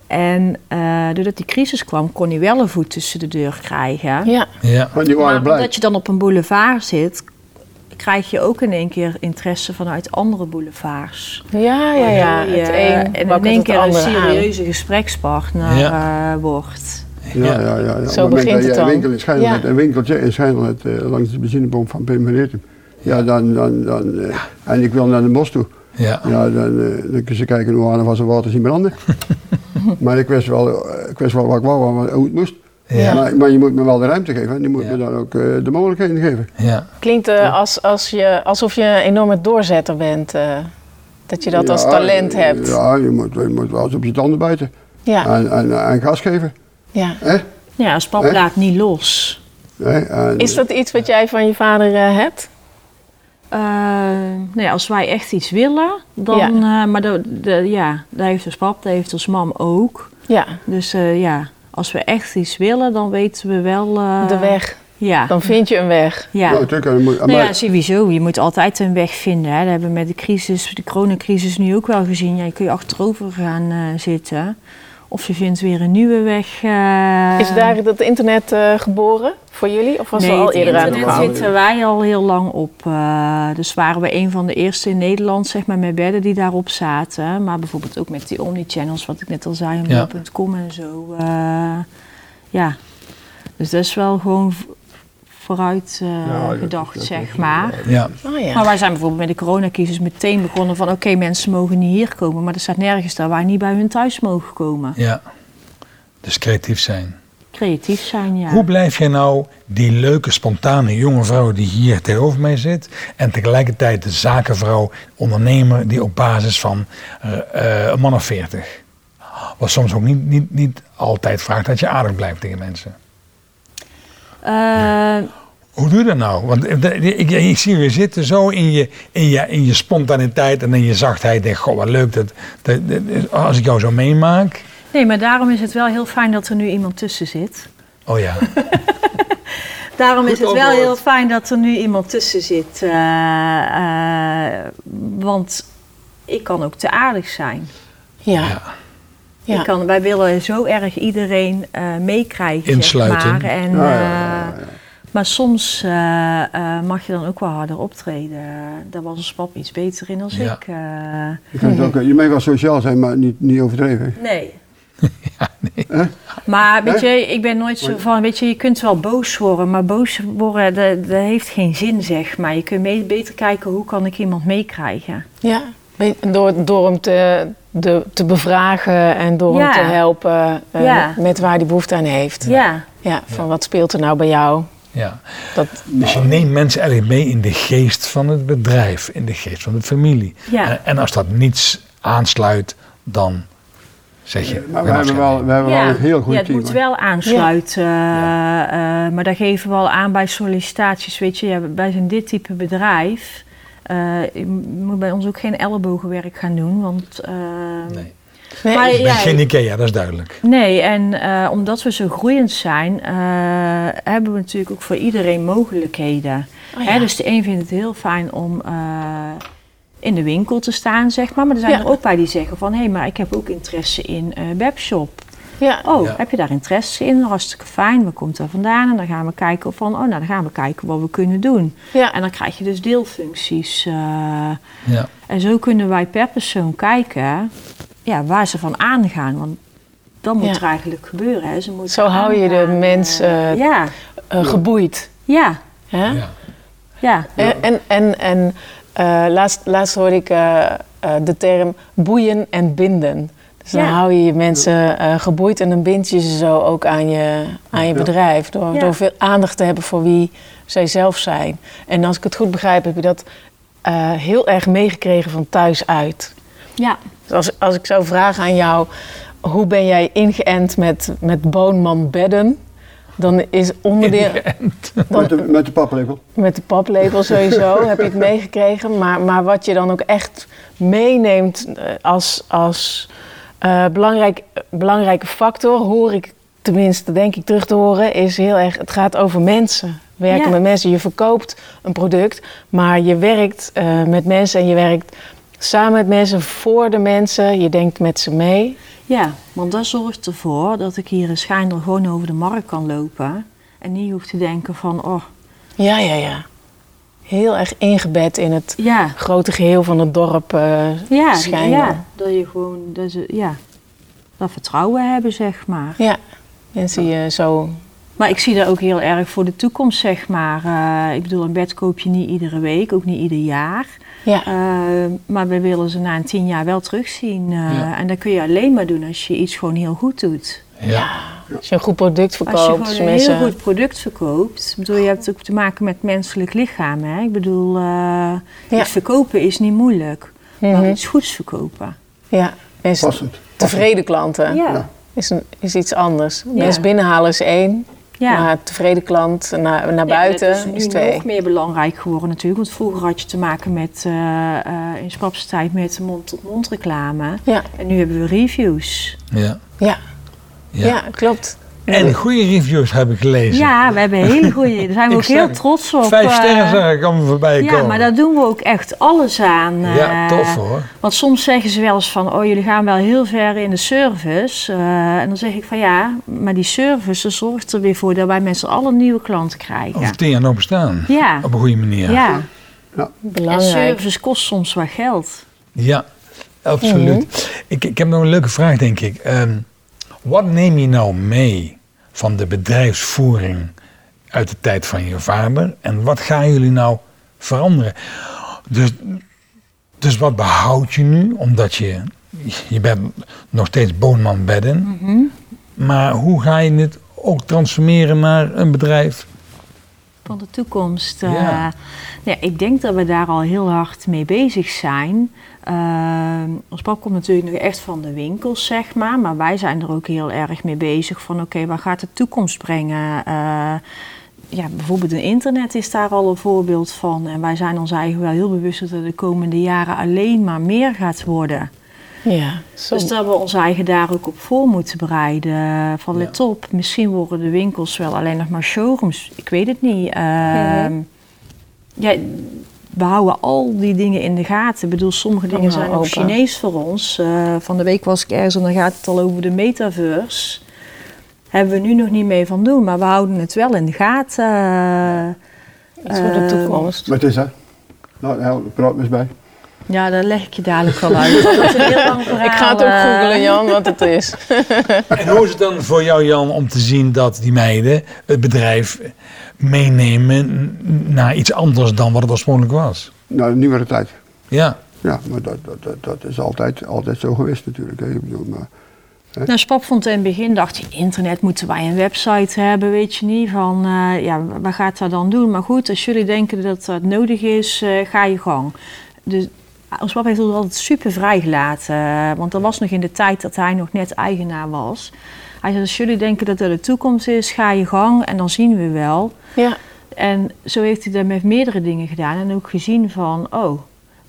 B: en eh, doordat die crisis kwam, kon hij wel een voet tussen de deur krijgen.
C: Ja,
A: Ja,
D: want die waren
B: Maar
D: blij.
B: omdat je dan op een boulevard zit, krijg je ook in één keer interesse vanuit andere boulevards.
C: ja, ja. ja.
B: Waardoor je,
C: Het
B: eh,
C: een
B: en
C: wakkert
B: in één
C: het
B: keer een
C: ander aan.
B: serieuze gesprekspartner
A: Ja.
B: eh, wordt.
D: Ja, ja, ja. ja.
C: Zo
D: Op het moment
C: begint
D: dat
C: het
D: jij
C: dan.
D: een winkel in Schijnel
C: Ja.
D: hebt, een winkeltje in Schijnel hebt, eh, langs de benzinepomp van Pim Vernetum. Ja, dan, dan, dan, eh, en ik wil naar de bos toe.
A: ja.
D: Ja, dan, eh, dan kun je kijken hoe aan van zijn water zien branden. maar ik wist, wel, eh, ik wist wel wat ik wou, want hoe het moest.
A: Ja.
D: Maar, maar je moet me wel de ruimte geven en je moet
A: Ja.
D: me dan ook eh, de mogelijkheden geven.
A: ja.
C: Klinkt eh, als, als je, alsof je een enorme doorzetter bent. eh, dat je dat als
D: Ja,
C: talent
D: eh,
C: hebt. Ja.
D: Ja, je moet, je moet wel eens op je tanden bijten
C: Ja.
D: en, en, en gas geven. Hè?
B: Ja, als pap
D: Hè?
B: laat niet los.
D: Hè? En-
C: Is dat iets wat jij van je vader eh, hebt?
B: Eh, nou ja, als wij echt iets willen, dan.
C: Ja.
B: eh, maar de, de- ja, dat heeft ons pap, dat heeft ons mam ook.
C: Ja,
B: Dus eh, ja, als we echt iets willen, dan weten we wel. eh,
C: de weg.
B: Ja.
C: Dan vind je een weg.
B: ja.
D: Nou, natuurlijk, en moet-
B: Nou
D: maar-
B: ja, sowieso. Je moet altijd een weg vinden. Hè. Dat hebben we met de crisis, de coronacrisis nu ook wel gezien. Ja, je kun je achterover gaan eh, zitten. Of je vindt weer een nieuwe weg. eh.
C: Is daar dat internet eh, geboren voor jullie? Of was
B: nee,
C: er al
B: het
C: eerder aan de
B: internet
C: gang?
B: zitten wij al heel lang op. eh, dus waren we een van de eerste in Nederland, zeg maar, met bedden die daarop zaten. Maar bijvoorbeeld ook met die omnichannels, wat ik net al zei,
A: Ja.
B: om.com en zo. eh, ja, dus dat is wel gewoon v- vooruit eh,
D: Ja, ja,
B: gedacht,
D: dat-
B: zeg
D: dat-
B: maar.
A: Ja,
C: Oh, ja.
B: Maar wij zijn bijvoorbeeld met de coronacrisis meteen begonnen van... oké, mensen mogen niet hier komen, maar er staat nergens dat wij niet bij hun thuis mogen komen.
A: ja. Dus creatief zijn.
B: Creatief zijn, ja.
A: Hoe blijf jij nou die leuke, spontane jonge vrouw die hier tegenover mij zit... en tegelijkertijd de zakenvrouw, ondernemer die op basis van eh, eh, een man of veertig... wat soms ook niet, niet, niet altijd vraagt dat je aardig blijft tegen mensen.
B: Eh,
A: Hoe doe je dat nou? Want eh, de- de- ik, ik zie je weer zitten zo in je, in, je, in je spontaniteit en in je zachtheid. Ik Denk, goh, wat leuk dat, dat- dat- als ik jou zo meemaak.
B: nee, maar daarom is het wel heel fijn dat er nu iemand tussen zit.
A: Oh ja,
B: Daarom is het wel
D: antwoord.
B: heel fijn dat er nu iemand tussen zit. eh, eh, want ik kan ook te aardig zijn.
C: Ja.
B: Ik
C: Ja.
B: kan, wij willen zo erg iedereen eh, meekrijgen.
A: Insluiten.
B: Zeg maar. En,
D: Ja, ja, ja, ja,
B: eh, Maar soms eh, eh, mag je dan ook wel harder optreden. Daar was ons pap iets beter in dan
A: Ja.
B: ik. eh.
D: Je, kunt ook, eh, je mag wel sociaal zijn, maar niet, niet overdreven.
B: nee. Maar weet je, ik ben nooit zo van, weet je, je kunt wel boos worden, maar boos worden, dat, dat heeft geen zin, zeg maar. Je kunt mee- beter kijken, hoe kan ik iemand meekrijgen?
C: Ja, Be- door, door hem te, de, te bevragen en door
B: Ja.
C: hem te helpen eh,
B: Ja.
C: met waar hij behoefte aan heeft.
B: Ja.
C: Ja, van wat speelt er nou bij jou?
A: ja.
C: Dat,
A: Dus je neemt mensen eigenlijk mee in de geest van het bedrijf, in de geest van de familie.
B: Ja.
A: En, en als dat niets aansluit, dan zeg je.
D: Eh, Maar we
A: dan
D: hebben,
A: afscheid
D: wel, we hebben wel een heel goed
B: ja, het
D: team.
B: moet
D: hoor.
B: wel aansluiten. eh, eh, maar daar geven we al aan bij sollicitaties. Weet je, ja, wij zijn dit type bedrijf. Eh, eh, je moet bij ons ook geen ellebogenwerk gaan doen, want... eh,
A: Nee.
C: Nee,
B: Maar
A: Ik ben
B: ja,
A: geen Ikea, dat is duidelijk.
B: Nee, en eh, omdat we zo groeiend zijn, eh, hebben we natuurlijk ook voor iedereen mogelijkheden.
C: oh ja.
B: Hè, dus de een vindt het heel fijn om eh, in de winkel te staan, zeg maar. Maar er zijn
C: Ja.
B: er ook bij die zeggen van... hé, hey, maar ik heb ook interesse in eh webshop.
C: ja.
B: Oh,
A: Ja.
B: heb je daar interesse in? Hartstikke fijn, waar komt dat vandaan? En dan gaan we kijken van... oh, nou, dan gaan we kijken wat we kunnen doen.
C: ja.
B: En dan krijg je dus deelfuncties. eh,
A: Ja.
B: en zo kunnen wij per persoon kijken ja, waar ze van aangaan. Want dat moet
C: Ja.
B: er eigenlijk gebeuren. Hè. Ze moeten
C: Zo hou je de
B: aangaan,
C: mens,
B: eh,
C: eh,
B: ja,
C: Eh, geboeid.
B: ja,
C: Hè?
A: Ja.
B: ja.
C: En, Eh, en, en, en eh, laatst, laatst hoorde ik eh, eh, de term boeien en binden. Dus dan
B: Ja.
C: hou je je mensen eh, geboeid en dan bind je ze zo ook aan je, aan je
D: Ja.
C: bedrijf. Door,
B: Ja.
C: door veel aandacht te hebben voor wie zij zelf zijn. En als ik het goed begrijp, heb je dat eh, heel erg meegekregen van thuis uit.
B: ja.
C: Dus als, als ik zou vragen aan jou, hoe ben jij ingeënt met, met Boonman Bedden? Dan is onderdeel...
D: Met de, met de paplepel.
C: Met de paplepel sowieso heb je het meegekregen. Maar, maar wat je dan ook echt meeneemt eh, als, als eh, belangrijk, belangrijke factor, hoor ik tenminste, denk ik, terug te horen, is heel erg: het gaat over mensen. Werken
B: Ja.
C: met mensen. Je verkoopt een product, maar je werkt eh, met mensen en je werkt samen met mensen, voor de mensen. Je denkt met ze mee.
B: Ja, want dat zorgt ervoor dat ik hier in Schijndel gewoon over de markt kan lopen. En niet hoef te denken van, oh,
C: Ja, ja, ja. Heel erg ingebed in het
B: ja,
C: grote geheel van het dorp. eh
B: ja,
C: Schijndel.
B: ja. Dat je gewoon, dat ze, ja, dat vertrouwen hebben, zeg maar.
C: Ja, mensen die je zo.
B: Maar ik zie dat ook heel erg voor de toekomst, zeg maar. Eh, ik bedoel, een bed koop je niet iedere week, ook niet ieder jaar.
C: Ja,
B: Eh, maar we willen ze na een tien jaar wel terugzien. eh,
A: Ja.
B: En dat kun je alleen maar doen als je iets gewoon heel goed doet.
A: Ja.
C: als je een goed
B: Als
C: product
B: je
C: verkoopt. dus
B: gewoon een heel goed product verkoopt. Ik bedoel, je hebt ook te maken met menselijk lichaam. Hè? Ik bedoel, eh,
C: Ja.
B: iets verkopen is niet moeilijk. Maar
C: Mhm.
B: iets goeds verkopen.
C: Ja, mensen
D: Passend.
C: tevreden klanten
B: Ja.
C: is, een, is iets anders.
B: Ja.
C: Mensen binnenhalen is één,
B: ja.
C: maar tevreden klant naar, naar buiten
B: dat is nu
C: is, twee.
B: nog meer belangrijk geworden natuurlijk. Want vroeger had je te maken met, eh, eh, in Spapse tijd met mond-tot-mond reclame.
C: Ja,
B: En nu hebben we reviews.
A: Ja.
C: ja,
A: Ja.
C: ja. klopt.
A: En goede reviews heb ik gelezen.
B: Ja, we hebben hele goede. Daar zijn we
A: Ik
B: ook heel
A: zag-
B: trots op.
A: Vijf
B: eh,
A: sterren zag ik allemaal voorbij
B: Ja,
A: komen.
B: maar daar doen we ook echt alles aan.
A: Ja,
B: eh,
A: tof hoor.
B: Want soms zeggen ze wel eens van, oh jullie gaan wel heel ver in de service. eh, en dan zeg ik van ja, maar die service dat zorgt er weer voor dat wij mensen alle nieuwe klanten krijgen.
A: Over tien jaar nog bestaan.
B: ja,
A: Op een goede
B: ja.
A: manier.
B: En
C: Belangrijk.
B: service kost soms wel geld.
A: Ja, absoluut. ik, ik heb nog een leuke vraag, denk ik. Ehm, wat neem je nou mee van de bedrijfsvoering uit de tijd van je vader? En wat gaan jullie nou veranderen? Dus, dus wat behoud je nu? Omdat je, je bent nog steeds boonman bedden. Maar hoe ga je dit ook transformeren naar een bedrijf?
B: van de toekomst. eh,
A: Ja.
B: ja, ik denk dat we daar al heel hard mee bezig zijn. Eh, ons pap komt natuurlijk nog echt van de winkels, zeg maar. Maar wij zijn er ook heel erg mee bezig van... oké, wat gaat de toekomst brengen? Eh, ja, bijvoorbeeld een internet is daar al een voorbeeld van. En wij zijn ons eigenlijk wel heel bewust... dat er de komende jaren alleen maar meer gaat worden.
C: Ja, zo.
B: Dus dat we ons eigen daar ook op voor moeten bereiden. Van
A: Ja.
B: let op, misschien worden de winkels wel alleen nog maar showrooms. Ik weet het niet. Ehm, ja, we houden al die dingen in de gaten. Ik bedoel, sommige dingen
C: Allemaal
B: zijn ook
C: open.
B: Chinees voor ons. Eh, van de week was ik ergens en dan gaat het al over de metaverse. Hebben we nu nog niet mee van doen, maar we houden het wel in de gaten.
C: Iets voor de
B: eh,
C: toekomst.
D: Maar het is hè. Nou, help, praat me eens bij.
B: Ja, daar leg ik je dadelijk wel uit. Dat is een heel lang
C: Ik ga het ook
B: verhaal, eh.
C: googlen, Jan, wat het is.
A: En hoe is het dan voor jou, Jan, om te zien dat die meiden het bedrijf meenemen naar iets anders dan wat het oorspronkelijk was?
D: Nou, de nieuwere tijd.
A: Ja,
D: Ja, maar dat, dat, dat, dat is altijd, altijd zo geweest natuurlijk. Hè. Ik bedoel, maar,
B: Nou, Spap vond in het begin, dacht je, internet moeten wij een website hebben, weet je niet. Van, eh, ja, wat gaat dat dan doen? Maar goed, als jullie denken dat dat nodig is, eh, ga je gang. Dus ah, ons pap heeft ons altijd super vrijgelaten. eh, Want dat was nog in de tijd dat hij nog net eigenaar was. Hij zei, als jullie denken dat dat de toekomst is, ga je gang en dan zien we wel.
C: Ja,
B: En zo heeft hij daar met meerdere dingen gedaan en ook gezien van, oh,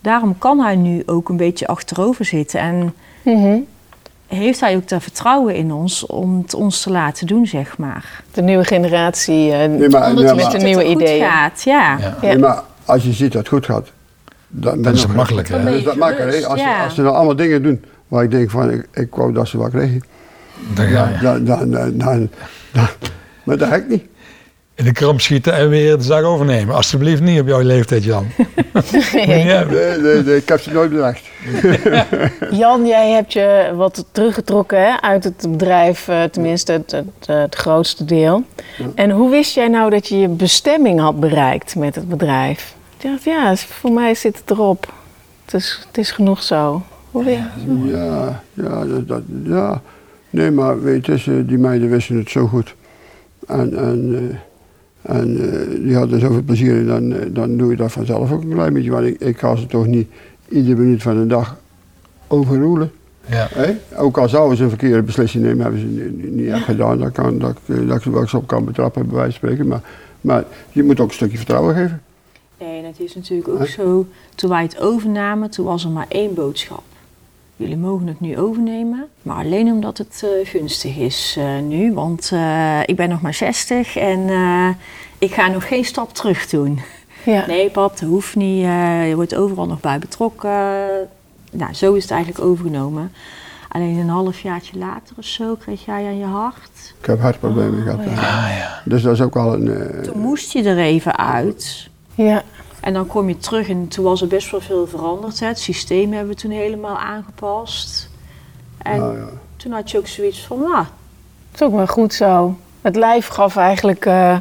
B: daarom kan hij nu ook een beetje achterover zitten. En
C: Mhm.
B: heeft hij ook daar vertrouwen in ons om het ons te laten doen, zeg maar.
C: De nieuwe generatie. eh
D: Nee, maar- nee,
C: omdat die
D: maar-
C: met de
B: Dat
C: nieuwe
B: het goed
C: ideeën.
B: gaat,
A: Ja.
B: ja.
C: Ja.
D: Nee, maar als je ziet dat het goed gaat, dan
A: Dat is
D: dan-
A: makkelijker, hè?
D: dan
B: Dan
D: is dat
B: ben je
D: makkelijker. hè? Als,
B: gerust, ja.
D: als ze nou allemaal dingen doen waar ik denk van, ik, ik wou dat ze wat kregen,
A: Dan ga je.
D: dan, dan, dan, dan- dan- maar dat heb ik niet.
A: In de kramp schieten en weer de zaak overnemen. Alsjeblieft niet op jouw leeftijd, Jan. Ja,
D: Nee, nee, nee, ik heb ze nooit bedacht.
C: Jan, jij hebt je wat teruggetrokken hè, uit het bedrijf, eh, tenminste het, het, eh, het grootste deel. En hoe wist jij nou dat je je bestemming had bereikt met het bedrijf? Ik dacht, ja, is- voor mij zit het erop. Het is, het is genoeg zo. Hoe weet
D: Ja, ja, dat, dat- ja. Nee, maar weet je, ze- die meiden wisten het zo goed. En, en, eh, en eh, die hadden zoveel plezier in, dan, eh, dan doe je dat vanzelf ook een klein beetje. Want ik, ik ga ze toch niet iedere minuut van de dag overroelen.
A: ja.
D: Hè? Ook al zouden ze een verkeerde beslissing nemen, hebben ze niet, niet- niet echt gedaan. Dat, kan, dat, eh, dat ik ze wel eens op kan betrappen, bij wijze van spreken. Maar, maar je moet ook een stukje vertrouwen geven.
B: Nee, dat is natuurlijk ook zo. Toen wij het overnamen, toen was er maar één boodschap. Jullie mogen het nu overnemen, maar alleen omdat het eh, gunstig is eh, nu. Want eh, ik ben nog maar 60 en eh, ik ga nog geen stap terug doen.
C: je? Ja.
B: Nee, pap, dat hoeft niet. eh, je wordt overal nog bij betrokken. Nou, zo is het eigenlijk overgenomen. Alleen een halfjaartje later of zo kreeg jij aan je hart.
D: Ik heb hartproblemen gehad.
A: Ah, ja.
D: Dus dat is ook al een... eh,
B: Toen moest je er even uit.
C: ja.
B: En dan kom je terug en toen was er best wel veel veranderd. Hè. Het systeem hebben we toen helemaal aangepast. En
D: nou ja.
B: toen had je ook zoiets van, nou,
C: Het is ook maar goed zo. Het lijf gaf eigenlijk eh,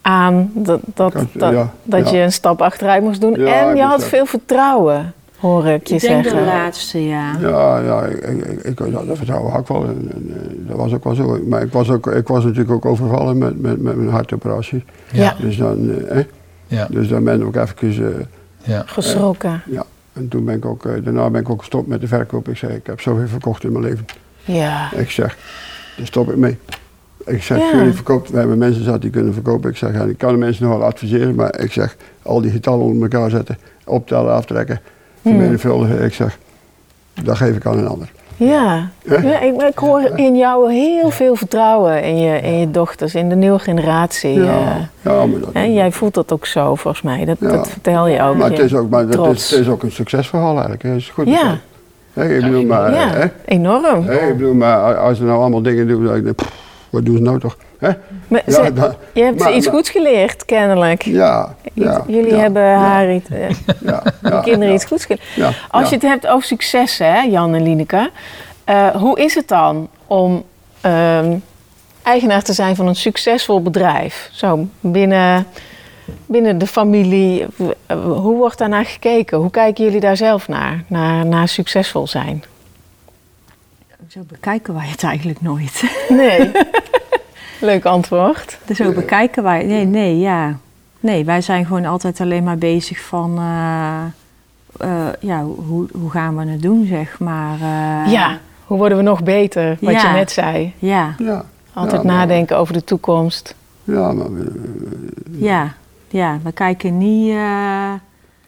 C: aan dat, dat,
D: Kan-
C: dat,
D: ja,
C: dat
D: ja.
C: je een stap achteruit moest doen.
D: Ja,
C: en
D: ik
C: je
D: moet
C: had
D: zeggen.
C: veel vertrouwen, hoor ik je
B: ik denk de
C: zeggen.
B: laatste, ja.
D: Ja, ja, ik, ik, ik- ik, ja, dat vertrouwen had ik wel. En, en, eh, dat was ook wel zo. Maar ik was, ook, ik was natuurlijk ook overvallen met, met, met mijn hartoperatie.
C: Ja.
D: Dus dan, eh, hè?
A: Ja.
D: dus dan ben ik ook even... eh,
A: ja.
C: Geschrokken.
D: ja. En toen ben ik ook, eh, daarna ben ik ook gestopt met de verkoop. Ik zei, ik heb zoveel verkocht in mijn leven.
C: Ja.
D: Ik zeg, daar stop ik mee. Ik zeg,
C: Ja.
D: jullie verkopen, we hebben mensen zat die kunnen verkopen. Ik zeg, en ik kan de mensen nog wel adviseren, maar ik zeg, al die getallen onder elkaar zetten, optellen, aftrekken, vermenigvuldigen. Ik zeg, dat geef ik aan een ander.
C: Ja, ja ik, ik hoor in jou heel veel vertrouwen in je, in je dochters, in de nieuwe generatie. eh.
D: ja maar dat,
C: Hè, jij voelt dat ook zo, volgens mij. Dat,
D: Ja.
C: dat vertel je ook.
D: Maar het
C: Je
D: is ook, maar dat
C: trots.
D: is, het is ook een succesverhaal eigenlijk. hè. Het is goed.
C: Ja.
D: Hè, ik bedoel, maar,
C: ja,
D: eh, hè,
C: enorm.
D: hè, ik bedoel, maar als ze nou allemaal dingen doen, dan denk ik, pff, wat doen ze nou toch? Hè?
C: Maar
D: Ja,
C: ze-
D: dat-
C: je hebt
D: maar-
C: ze iets
D: maar-
C: goeds geleerd, kennelijk.
D: Ja, ja,
C: Jullie
D: ja,
C: hebben
D: ja,
C: haar iets, eh,
D: ja,
C: de
D: ja,
C: kinderen
D: Ah, ja,
C: iets goeds geleerd.
D: ja,
C: Als
D: ja.
C: je het hebt over succes, hè, Jan en Lineke. eh, hoe is het dan om ehm, eigenaar te zijn van een succesvol bedrijf? Zo binnen, binnen de familie. w- eh, Hoe wordt daarnaar gekeken? Hoe kijken jullie daar zelf naar? Naar, naar succesvol zijn?
B: Zo bekijken wij het eigenlijk nooit.
C: Nee. Leuk antwoord.
B: dus zo bekijken wij, nee, nee, ja. Nee, wij zijn gewoon altijd alleen maar bezig van, eh, eh, ja, hoe, hoe gaan we het doen, zeg maar. eh.
C: ja. Hoe worden we nog beter? Wat
B: Ja.
C: je net zei.
B: Ja,
D: Ja,
C: Altijd
D: ja, maar-
C: nadenken over de toekomst.
D: Ja, maar, eh,
B: ja, ja. We kijken niet, eh,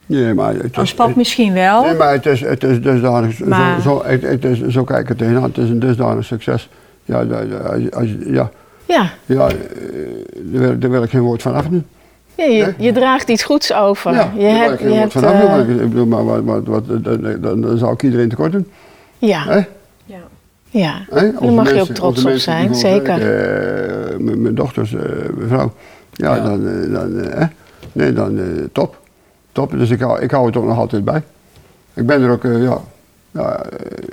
D: nee, maar het
C: Oh,
B: als
D: is,
B: pap
D: het-
B: misschien wel.
D: nee, maar het is, het is dusdanig,
B: Maar-
D: zo, zo, het, het is, zo kijk ik er tegenaan, het is een dusdanig succes. Ja, dat- dat- als, als, ja,
C: Ja.
D: ja eh, daar, wil, daar wil ik geen woord van afdoen.
C: Ja, je, je draagt iets goeds over.
D: Ja,
C: je
D: daar wil ik
C: hebt,
D: geen
C: je
D: woord
C: hebt,
D: van afdoen,
C: eh,
D: maar ik- ik bedoel, maar wat, wat, wat, dan, dan, dan zou ik iedereen tekort doen.
C: ja,
D: Hè?
C: ja.
D: Hè?
C: Daar mag je ook trots op zijn, zeker.
D: mijn, mijn dochters, eh, mijn vrouw. Ja, dan, eh, dan, eh, hè? nee, dan eh, top. Top, dus ik hou, ik hou het ook nog altijd bij. Ik ben er ook, eh, ja, ja, eh,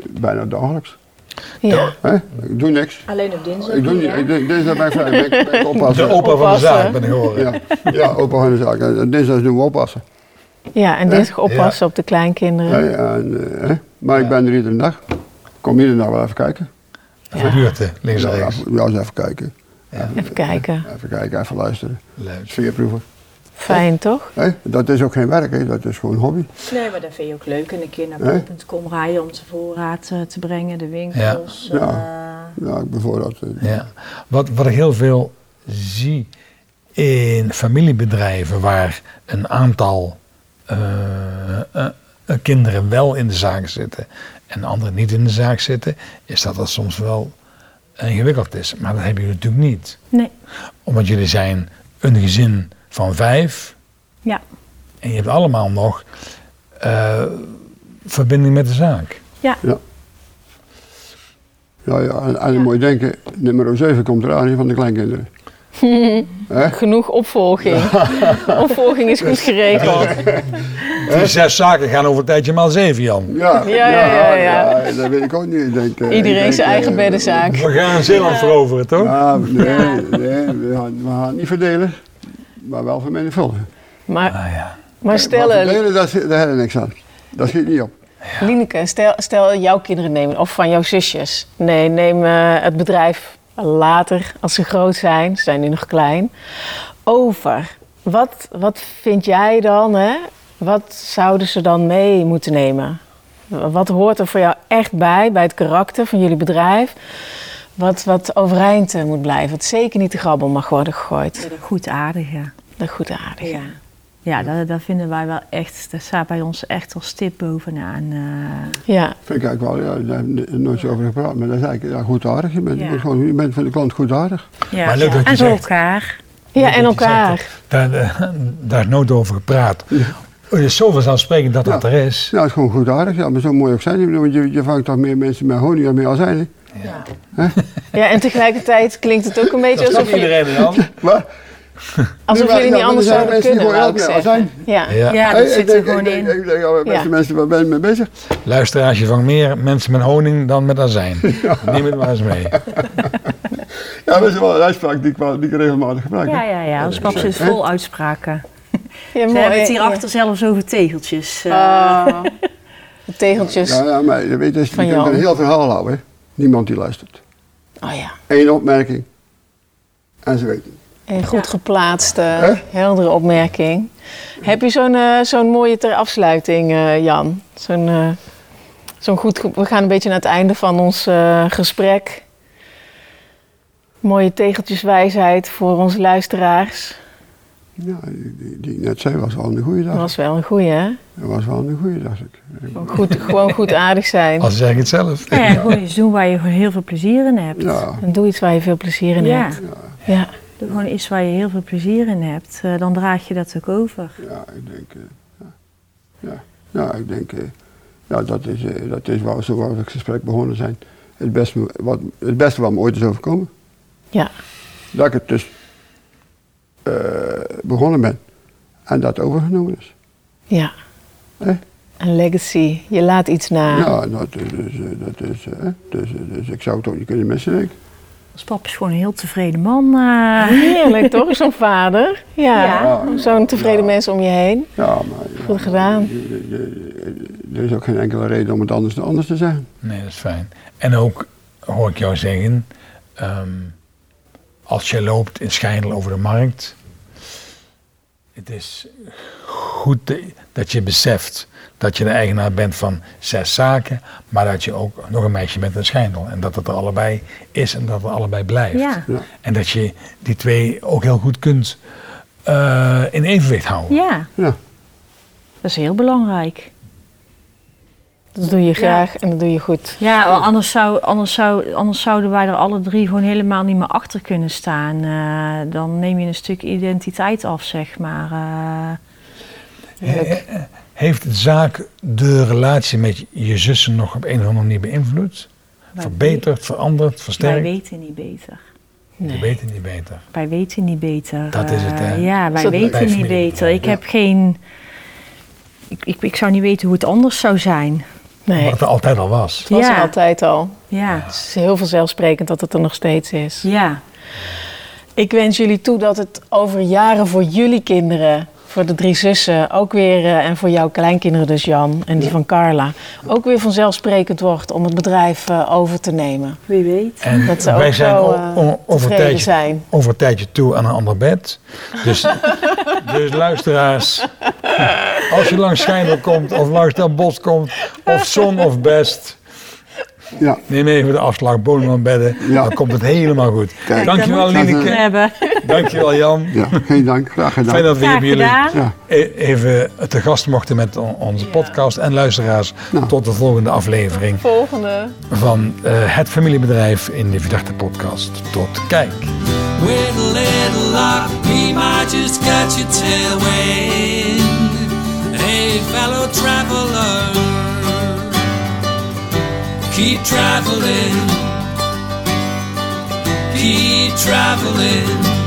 D: bijna dagelijks.
C: ja.
D: Hè? Ik doe niks.
B: Alleen op dinsdag.
D: Ik doe niet, ik, doe- dinsdag ben ik vrij, ben ik- ben ik
A: De
D: oppassen.
A: opa van de
C: Oppassen.
A: zaak ben ik horen.
D: ja, ja, opa van de zaak. En eh, Dinsdag doen we oppassen.
C: ja, en dinsdag oppassen op de kleinkinderen.
D: Hè? En, eh, hè? Maar ik ben er iedere dag. Kom iedere dag wel even kijken.
A: Gebeurt er, links en
D: Ja,
A: rechts.
D: even- ja, eens even kijken.
C: Even kijken.
D: Even kijken, even luisteren.
A: Leuk.
D: Sfeerproeven.
C: Fijn, toch?
D: Hè? Dat is ook geen werk, hè? dat is gewoon hobby.
B: Nee, maar dat vind je ook leuk. En een keer naar
D: Hè?
B: bol.com rijden om de voorraad eh, te brengen, de winkels.
D: Ja.
B: eh,
D: Ja, ik bijvoorbeeld. eh,
A: Ja. Wat, wat ik heel veel zie in familiebedrijven waar een aantal eh, eh, eh, kinderen wel in de zaak zitten en anderen niet in de zaak zitten, is dat dat soms wel ingewikkeld is. Maar dat hebben jullie natuurlijk niet.
B: Nee.
A: Omdat jullie zijn een gezin van vijf
B: Ja.
A: en je hebt allemaal nog eh, verbinding met de zaak.
D: Ja, ja, en, en dan moet je denken, nummer 7 komt eraan, die van de kleinkinderen.
C: Genoeg opvolging. opvolging is goed geregeld.
A: Die zes zaken gaan over een tijdje maal zeven, Jan.
D: Ja,
C: Ja, ja, ja, ja.
D: dat weet ik ook niet. Ik denk, eh, ik
C: Iedereen
D: denk,
C: zijn
D: eh,
C: eigen
A: We
C: beddenzaak.
A: gaan Zeeland veroveren, toch?
D: Ja, nee, nee we, gaan, we gaan niet verdelen, maar wel vermenigvuldigen.
C: Maar,
A: Ah, ja.
C: maar stel,
D: Maar
C: eh,
D: verdelen, daar, zit- daar hebben we niks aan. Dat schiet niet op.
C: Lineke, stel, stel jouw kinderen nemen of van jouw zusjes. Nee, neem eh, het bedrijf later, als ze groot zijn, ze zijn nu nog klein, over. Wat, wat vind jij dan, hè? wat zouden ze dan mee moeten nemen? Wat hoort er voor jou echt bij, bij het karakter van jullie bedrijf? Wat, wat overeind eh, moet blijven, wat zeker niet de grabbel mag worden gegooid.
B: Goed aardig, ja.
C: Dat is goed aardig. Ja.
B: Ja, dat, dat vinden wij wel echt, dat staat bij ons echt als stip bovenaan. eh.
C: ja.
D: Vind ik eigenlijk wel, ja, daar hebben we nooit zo over gepraat, maar dat is eigenlijk ja, goedaardig. Je bent, je
B: Ja.
D: bent gewoon, je bent voor de klant goedaardig.
B: ja.
A: Maar leuk dat je
B: en zo
A: zegt.
B: elkaar.
C: Ja, en
A: Dat je
C: elkaar.
A: zegt, Daar, eh, daar is nooit over gepraat. Er is zoveel aansprekend dat dat
D: Ja.
A: er is.
D: Ja, Nou, het is gewoon goedaardig, ja, maar zo mooi ook zijn. Ik bedoel, Je, je vangt toch meer mensen met honing dan met azijn.
C: Ja, en tegelijkertijd klinkt het ook een beetje
A: Dat
C: alsof
A: snapt
C: je
A: iedereen dan.
D: Maar,
C: Alsof
D: Nee, maar- ja,
C: jullie niet
D: maar
C: anders
D: er zijn
C: zouden
D: mensen die nou,
C: kunnen,
D: gewoon
C: wou ik
D: elk jaar
C: zeggen. Ja.
B: Ja,
A: Ja.
B: dat
D: ik
B: zit er
D: denk-
B: gewoon
D: ik
B: in.
D: denk- Ik denk, ja, beste
C: Ja.
D: mensen, waar ben je mee bezig?
A: Luisteraars, je vangt meer mensen met honing dan met azijn. Neem het maar eens mee.
D: Ja, dat is wel een uitspraak die ik, wel- die ik regelmatig gebruik. hè.
B: Ja, ja, ja. Ons pap zit vol uitspraken.
C: Ja,
B: We
C: mooi,
B: hebben het
C: ja.
B: hierachter zelfs over tegeltjes. eh.
C: Ah, de tegeltjes.
D: Ja, ja, maar je weet, dus, je
C: Van
D: kunt
C: jou.
D: een heel verhaal houden. hè. Niemand die luistert.
C: Oh ja,
D: Eén opmerking. En ze weten.
C: een goed geplaatste,
D: Hè?
C: heldere opmerking. Heb je zo'n eh, zo'n mooie ter afsluiting, eh, Jan? Zo'n eh, zo'n goed... ge- We gaan een beetje naar het einde van ons eh, gesprek. Mooie tegeltjeswijsheid voor onze luisteraars.
D: Ja, die, die, die ik net zei, was wel een goede
C: Dat
D: dag.
C: was wel een goeie, hè?
D: Dat was wel een goede dag. Ik-
B: Oh.
C: Gewoon Goed, gewoon goed aardig zijn.
A: Als zeg ik het zelf.
B: ja, ja, gewoon iets doen waar je gewoon heel veel plezier in hebt.
D: Ja,
C: En doe iets waar je veel plezier in
B: Ja,
C: hebt. Ja.
B: doe gewoon iets waar je heel veel plezier in hebt. Eh, dan draag je dat ook over.
D: ja, ik denk... eh, ja. Ja, ja, ik denk... eh, ja, dat is, eh, dat is waar, zo waar we het gesprek begonnen zijn. Het beste wat, het beste wat me ooit is overkomen.
C: Ja.
D: Dat ik het dus eh, begonnen ben. En dat overgenomen is.
C: Ja.
D: Hè?
C: Een legacy. Je laat iets na.
D: Ja, dat is, dus, eh, dat is, eh, dus, eh, dus ik zou het ook niet kunnen missen, denk ik.
B: Ons pap is gewoon een heel tevreden man. eh.
C: Heerlijk toch, zo'n vader? Ja.
D: Ja.
C: Zo'n tevreden
D: Ja.
C: mensen om je heen.
D: Ja, maar... eh, ja,
C: Goed gedaan.
D: je- je- je- eh, Er is ook geen enkele reden om het anders dan anders te zeggen.
A: Nee, dat is fijn. En ook hoor ik jou zeggen, ehm, als je loopt in Schijndel over de markt, het is goed te- dat je beseft dat je de eigenaar bent van zes zaken, maar dat je ook nog een meisje bent in Schijndel. En dat het er allebei is en dat het allebei blijft.
B: Ja.
D: Ja.
A: En dat je die twee ook heel goed kunt eh, in evenwicht houden.
B: ja,
D: Ja,
B: dat is heel belangrijk.
C: Dat doe je graag en dat doe je goed.
B: Ja, wel, anders, zou, anders, zou, anders zouden wij er alle drie gewoon helemaal niet meer achter kunnen staan. Eh, dan neem je een stuk identiteit af, zeg maar. Eh,
A: Heeft de zaak de relatie met je zussen nog op een of andere manier beïnvloed?
B: Wij-
A: Verbeterd, veranderd,
B: Wij
A: versterkt?
B: weten niet beter.
A: Je weet het niet beter.
B: Wij weten niet beter.
A: Dat is het, hè?
B: Eh, ja, wij
C: Zo-
A: Bij
B: weten niet
A: familie
B: beter. Ik
D: ja.
B: heb geen... Ik, ik, ik zou niet weten hoe het anders zou zijn.
C: Nee,
A: Wat
C: het
A: er altijd al was.
C: was
B: ja.
C: er altijd al.
B: Ja,
C: Het is heel vanzelfsprekend dat het er nog steeds is.
B: ja.
C: Ik wens jullie toe dat het over jaren voor jullie kinderen, voor de drie zussen, ook weer, eh, en voor jouw kleinkinderen dus Jan en die van Carla, ook weer vanzelfsprekend wordt om het bedrijf eh, over te nemen.
B: Wie weet.
A: En
C: Dat ze
A: wij
C: ook
A: zijn
C: zo,
A: o-
C: eh,
A: o- over, een
C: tevreden
A: tijdje,
C: zijn.
A: over een tijdje toe aan een ander bed. Dus, dus luisteraars, als je langs Schijndel komt of langs Den Bosch komt, of Zon of Best,
D: Ja,
A: Neem even de afslag, Boonman bedden.
D: Ja.
A: Dan komt het helemaal goed.
D: Kijk.
A: Dankjewel,
B: Daar moet je
A: Lineke.
B: het hebben.
A: Dankjewel, Jan.
D: ja. geen dank, graag gedaan.
A: Fijn dat we hier bij jullie
B: Graag gedaan.
D: Ja.
A: e- even te gast mochten met on- onze podcast. En luisteraars,
D: Nou.
A: tot de volgende aflevering
C: Volgende.
A: van eh, Het Familiebedrijf in de Verdachte Podcast. Tot kijk.
E: With a little luck, we might just catch a tailwind. Hey, fellow traveler, keep traveling, keep traveling.